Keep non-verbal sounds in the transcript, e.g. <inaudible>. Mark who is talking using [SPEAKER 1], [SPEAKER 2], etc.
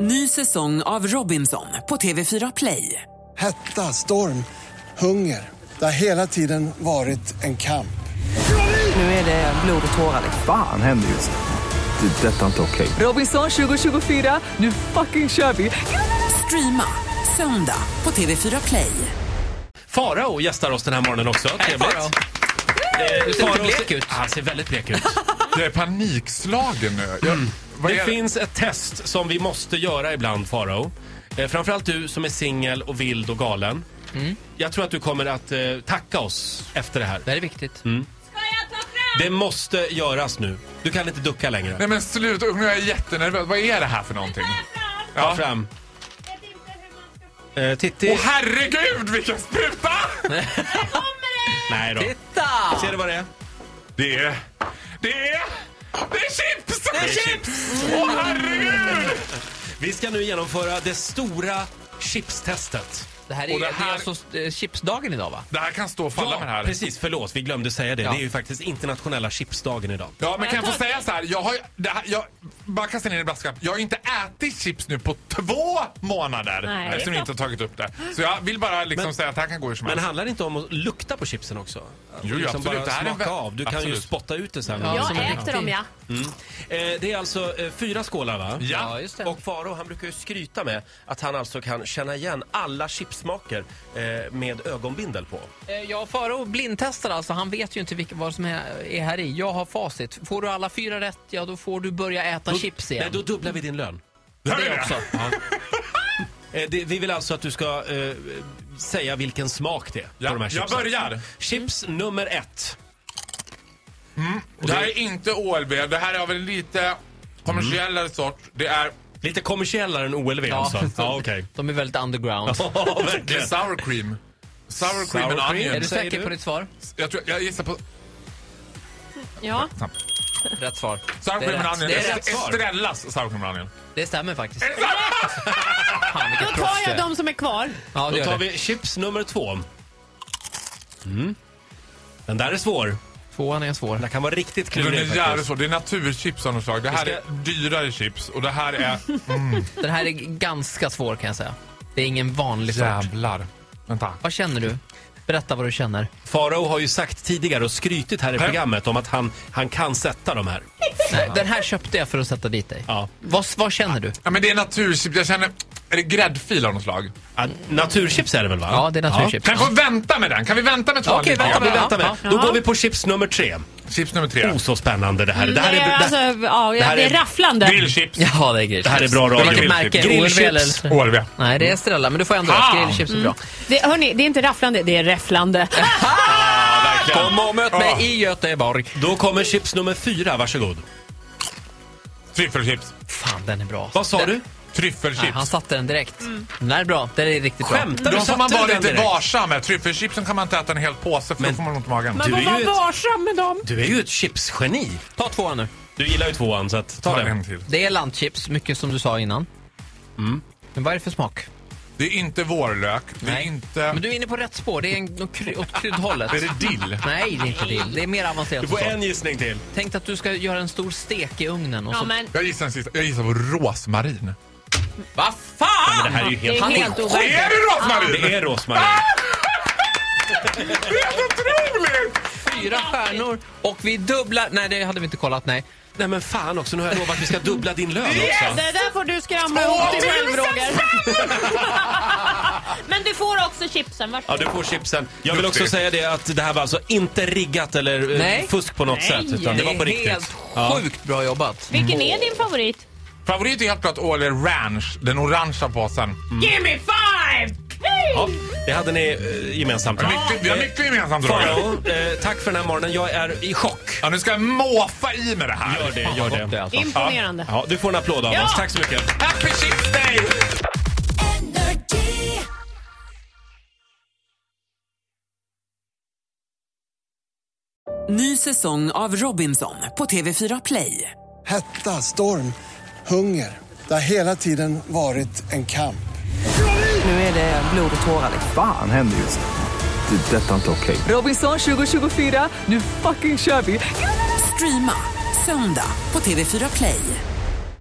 [SPEAKER 1] Ny säsong av Robinson på TV4 Play.
[SPEAKER 2] Hetta, storm, hunger. Det har hela tiden varit en kamp.
[SPEAKER 1] Nu är det blod och tårar.
[SPEAKER 3] Fan händer just nu. Det. är Detta är inte okej.
[SPEAKER 1] Robinson 2024, nu fucking kör vi! Streama söndag på TV4 Play.
[SPEAKER 4] Farao gästar oss den här morgonen också. Trevligt.
[SPEAKER 5] Farao.
[SPEAKER 4] Eh,
[SPEAKER 5] Du ser lite
[SPEAKER 4] Farao
[SPEAKER 5] blek
[SPEAKER 4] ser-
[SPEAKER 5] ut.
[SPEAKER 4] Han ser väldigt blek ut.
[SPEAKER 6] Jag är panikslagen nu. Jag, vad
[SPEAKER 4] Mm. Det
[SPEAKER 6] är
[SPEAKER 4] finns ett test som vi måste göra ibland, Farao. Eh, Framförallt du som är singel och vild och galen. Jag tror att du kommer att eh, tacka oss efter det här.
[SPEAKER 5] Mm. Det här är viktigt.
[SPEAKER 4] Det måste göras nu. Du kan inte ducka längre.
[SPEAKER 6] Nej men sluta, nu är jag jättenervös. Vad är det här för någonting?
[SPEAKER 4] Ta fram. Eh, Titti.
[SPEAKER 6] Åh herregud vilken spruta!
[SPEAKER 4] Nej då.
[SPEAKER 5] Titta!
[SPEAKER 4] Ser du vad det är?
[SPEAKER 6] Det är... Det är... Det är chips! Det
[SPEAKER 4] är chips!
[SPEAKER 6] Åh herregud!
[SPEAKER 4] Vi ska nu genomföra det stora chipstestet.
[SPEAKER 5] Det här är,
[SPEAKER 6] Och
[SPEAKER 5] det
[SPEAKER 6] det
[SPEAKER 5] är
[SPEAKER 6] här-
[SPEAKER 5] alltså eh, chipsdagen idag va?
[SPEAKER 6] Det här kan stå och falla med det här.
[SPEAKER 4] precis. Förlåt, vi glömde säga det.
[SPEAKER 5] Ja.
[SPEAKER 4] Det är ju faktiskt internationella chipsdagen idag.
[SPEAKER 6] Ja men kan jag få säga så här? Jag har ju- det här, jag, bara kasta ner i brasklapp. Jag har ju inte ätit chips nu på två månader.
[SPEAKER 7] Nej.
[SPEAKER 6] Eftersom jag inte har tagit upp det. Så jag vill bara liksom säga att det här kan gå hur som
[SPEAKER 4] Men
[SPEAKER 6] helst.
[SPEAKER 4] handlar det inte om att lukta på chipsen också? Att
[SPEAKER 6] Jo, absolut.
[SPEAKER 4] bara
[SPEAKER 6] Det här är
[SPEAKER 4] smaka
[SPEAKER 6] vä-
[SPEAKER 4] av. Du kan ju
[SPEAKER 6] absolut.
[SPEAKER 4] spotta ut det sen.
[SPEAKER 5] Ja,
[SPEAKER 4] Som
[SPEAKER 7] Jag
[SPEAKER 4] en
[SPEAKER 7] äter
[SPEAKER 4] riktig-
[SPEAKER 7] dem ja.
[SPEAKER 4] Eh, det är alltså eh, fyra skålar va?
[SPEAKER 6] Ja.
[SPEAKER 5] just det.
[SPEAKER 4] Och Faro han brukar ju skryta med att han alltså kan känna igen alla chipsmaker eh, med ögonbindel på.
[SPEAKER 5] Eh, Ja, Farao blindtestar alltså. Han vet ju inte vilka, vad som är, är här i. Jag har facit. Får du alla fyra rätt, ja då får du börja äta chips igen.
[SPEAKER 4] Nej, då dubblar vi din lön.
[SPEAKER 6] Hör
[SPEAKER 5] det
[SPEAKER 6] du
[SPEAKER 5] också.
[SPEAKER 4] <laughs> Eh, det, vi vill alltså att du ska eh, säga vilken smak det är
[SPEAKER 6] Ja,
[SPEAKER 4] på de här
[SPEAKER 6] jag
[SPEAKER 4] chipsen.
[SPEAKER 6] börjar.
[SPEAKER 4] Chips nummer ett.
[SPEAKER 6] Det här är inte OLB, det här är av en lite kommersiellare sort. Det är,
[SPEAKER 4] Lite kommersiellare än OLV
[SPEAKER 5] Ja,
[SPEAKER 4] alltså.
[SPEAKER 5] <laughs>
[SPEAKER 4] Ja, okej.
[SPEAKER 5] De är väldigt underground.
[SPEAKER 4] Ja,
[SPEAKER 6] det är
[SPEAKER 4] verkligen.
[SPEAKER 6] sour cream. Sour cream
[SPEAKER 4] Sour
[SPEAKER 6] and
[SPEAKER 4] cream.
[SPEAKER 5] Är
[SPEAKER 6] onion.
[SPEAKER 5] du
[SPEAKER 4] Säger
[SPEAKER 5] säker
[SPEAKER 4] du?
[SPEAKER 5] på ditt svar?
[SPEAKER 6] Jag, tror, jag gissar på
[SPEAKER 7] ja.
[SPEAKER 5] Rätt svar.
[SPEAKER 6] sour
[SPEAKER 5] Det är
[SPEAKER 6] cream and
[SPEAKER 5] rätt.
[SPEAKER 6] onion.
[SPEAKER 5] Det är rätt svar.
[SPEAKER 6] Estrellas sour cream and onion.
[SPEAKER 5] Det stämmer faktiskt.
[SPEAKER 6] Är det sant?
[SPEAKER 5] Fan, vilket
[SPEAKER 7] Då tar
[SPEAKER 5] proffs du
[SPEAKER 7] jag
[SPEAKER 5] är.
[SPEAKER 7] de som är kvar.
[SPEAKER 5] Ja, det
[SPEAKER 4] Då
[SPEAKER 5] gör
[SPEAKER 4] tar
[SPEAKER 5] det.
[SPEAKER 4] vi chips nummer två. Mm. Den där är svår.
[SPEAKER 5] Tvåan är svår.
[SPEAKER 4] Den kan vara riktigt
[SPEAKER 6] Den
[SPEAKER 4] klurig
[SPEAKER 6] är jävligt
[SPEAKER 4] faktiskt.
[SPEAKER 6] svår. Det är naturchips av något slag. Det här
[SPEAKER 4] Vi
[SPEAKER 6] är
[SPEAKER 4] ska-
[SPEAKER 6] dyrare chips och det här
[SPEAKER 5] <laughs>
[SPEAKER 6] är...
[SPEAKER 5] Den här är ganska svår kan jag säga. Det är ingen vanlig sort.
[SPEAKER 6] Jävlar. Vänta.
[SPEAKER 5] Vad känner du? Berätta vad du känner.
[SPEAKER 4] Farao har ju sagt tidigare och skrytit här i
[SPEAKER 6] Här.
[SPEAKER 4] programmet om att han, han kan sätta de här.
[SPEAKER 5] Nej, den här köpte jag för att sätta dit dig.
[SPEAKER 4] Ja.
[SPEAKER 5] Vad, vad känner du?
[SPEAKER 6] Ja men det är naturchips. Jag känner... Är det gräddfil av något slag?
[SPEAKER 4] Ja, naturchips är det väl va?
[SPEAKER 5] Ja, det är naturchips.
[SPEAKER 6] Kan vi få vänta med den? Kan vi vänta med tvåan
[SPEAKER 5] Okej,
[SPEAKER 6] lite
[SPEAKER 4] Ja,
[SPEAKER 6] grann?
[SPEAKER 4] vi väntar med.
[SPEAKER 5] Ja,
[SPEAKER 4] Då
[SPEAKER 7] ja.
[SPEAKER 4] går vi på chips nummer tre.
[SPEAKER 6] Chips nummer tre.
[SPEAKER 4] Oh, så spännande det här är. Det här är,
[SPEAKER 7] Nej, alltså,
[SPEAKER 4] det,
[SPEAKER 7] ja,
[SPEAKER 4] här
[SPEAKER 7] det
[SPEAKER 4] är-
[SPEAKER 7] är rafflande.
[SPEAKER 6] Grillchips.
[SPEAKER 5] Ja, det är grillchips.
[SPEAKER 4] det här är bra radio.
[SPEAKER 5] Vilket
[SPEAKER 6] Grillchips.
[SPEAKER 5] märke?
[SPEAKER 4] Grillchips. Mm.
[SPEAKER 5] OLV eller-
[SPEAKER 6] OLV.
[SPEAKER 5] Nej, det är Estrella, men du får ändå
[SPEAKER 6] Ah!
[SPEAKER 5] rätt. Grillchips är bra.
[SPEAKER 7] Det, hörni, det är inte rafflande, det är räfflande.
[SPEAKER 5] Kom och möt
[SPEAKER 6] mig
[SPEAKER 5] i Göteborg.
[SPEAKER 4] Då kommer chips nummer fyra, varsågod.
[SPEAKER 6] Tryffelchips.
[SPEAKER 5] Fan, den är bra.
[SPEAKER 4] Ah! Vad sa
[SPEAKER 5] Den-
[SPEAKER 4] du?
[SPEAKER 5] Nej, han
[SPEAKER 6] Tryffelchips.
[SPEAKER 5] satte den direkt.
[SPEAKER 7] Mm.
[SPEAKER 5] Den här är bra. Den är riktigt bra.
[SPEAKER 4] Skämtar du?
[SPEAKER 6] Då får
[SPEAKER 4] Satte
[SPEAKER 6] man
[SPEAKER 4] du
[SPEAKER 6] vara
[SPEAKER 4] den
[SPEAKER 6] lite
[SPEAKER 4] direkt?
[SPEAKER 6] varsam med. Tryffelchipsen kan man inte äta en hel påse för
[SPEAKER 4] Men-
[SPEAKER 6] då får man ont i magen.
[SPEAKER 4] Du
[SPEAKER 7] Man
[SPEAKER 4] är
[SPEAKER 7] får
[SPEAKER 4] ju
[SPEAKER 7] vara
[SPEAKER 4] ett-
[SPEAKER 7] varsam med dem.
[SPEAKER 4] Du är ju ett chipsgeni.
[SPEAKER 5] Ta tvåan nu.
[SPEAKER 4] Du gillar ju tvåan så att ta
[SPEAKER 6] Ta en
[SPEAKER 4] den.
[SPEAKER 6] till.
[SPEAKER 5] Det är landchips, mycket som du sa innan.
[SPEAKER 4] Mm.
[SPEAKER 5] Men vad är det för smak?
[SPEAKER 6] Det är inte vårlök. Det är
[SPEAKER 5] Nej.
[SPEAKER 6] inte...
[SPEAKER 5] Men du är inne på rätt spår. Det är en, något kry, åt kryddhållet.
[SPEAKER 6] Är det dill?
[SPEAKER 5] Nej, det är inte dill. Det är mer avancerat
[SPEAKER 4] Du
[SPEAKER 5] än
[SPEAKER 4] får
[SPEAKER 5] så.
[SPEAKER 4] en gissning till.
[SPEAKER 5] Tänk att du ska göra en stor stek i ugnen och
[SPEAKER 7] Ja,
[SPEAKER 5] så...
[SPEAKER 7] men,
[SPEAKER 6] Jag gissar en sista. Jag gissar på rosmarin.
[SPEAKER 5] Vad fan!
[SPEAKER 4] Det här är ju
[SPEAKER 7] det
[SPEAKER 4] helt...
[SPEAKER 7] är
[SPEAKER 5] Han är
[SPEAKER 7] helt
[SPEAKER 5] sjuk.
[SPEAKER 7] overkligt.
[SPEAKER 6] Är det rosmarin?
[SPEAKER 4] Det är rosmarin.
[SPEAKER 6] Otroligt!
[SPEAKER 5] Fyra stjärnor och vi dubblar... Nej, det hade vi inte kollat. Nej.
[SPEAKER 4] Nej men fan också, nu har jag lovat att vi ska dubbla din lön också.
[SPEAKER 7] Det där får du skramla ihop till själv, Roger. <laughs> Men du får också chipsen,
[SPEAKER 4] Ja,
[SPEAKER 7] varsågod.
[SPEAKER 4] du får chipsen. Jag vill också
[SPEAKER 6] Duktig.
[SPEAKER 4] säga det att det här var alltså inte riggat eller eh,
[SPEAKER 5] Nej.
[SPEAKER 4] fusk på något
[SPEAKER 7] Nej.
[SPEAKER 4] sätt. Utan det var på riktigt.
[SPEAKER 5] helt sjukt bra jobbat.
[SPEAKER 7] Vilken är din favorit?
[SPEAKER 6] Favorit är helt klart Åle Ranch, den orangea påsen.
[SPEAKER 7] Give me five!
[SPEAKER 4] Ja, det hade ni eh, gemensamt.
[SPEAKER 6] Vi har mycket- Vi har mycket gemensamt Roger.
[SPEAKER 4] Farao, eh, tack för den här morgonen. Jag är i chock.
[SPEAKER 6] Ja, nu ska jag måfa i med det här.
[SPEAKER 4] Gör det, gör det.
[SPEAKER 5] alltså.
[SPEAKER 7] Imponerande.
[SPEAKER 4] Ja, du får en applåd av
[SPEAKER 7] Ja.
[SPEAKER 4] oss. Tack så mycket.
[SPEAKER 6] Happy Chips Day!
[SPEAKER 1] Ny säsong av Robinson på TV4 Play.
[SPEAKER 2] Hetta, storm, hunger. Det har hela tiden varit en kamp.
[SPEAKER 1] Nu är det blod och tårar.
[SPEAKER 3] Fan händer just nu. Det. är Detta är inte okej.
[SPEAKER 1] Robinson 2024, nu fucking kör vi! Streama söndag på TV4 Play.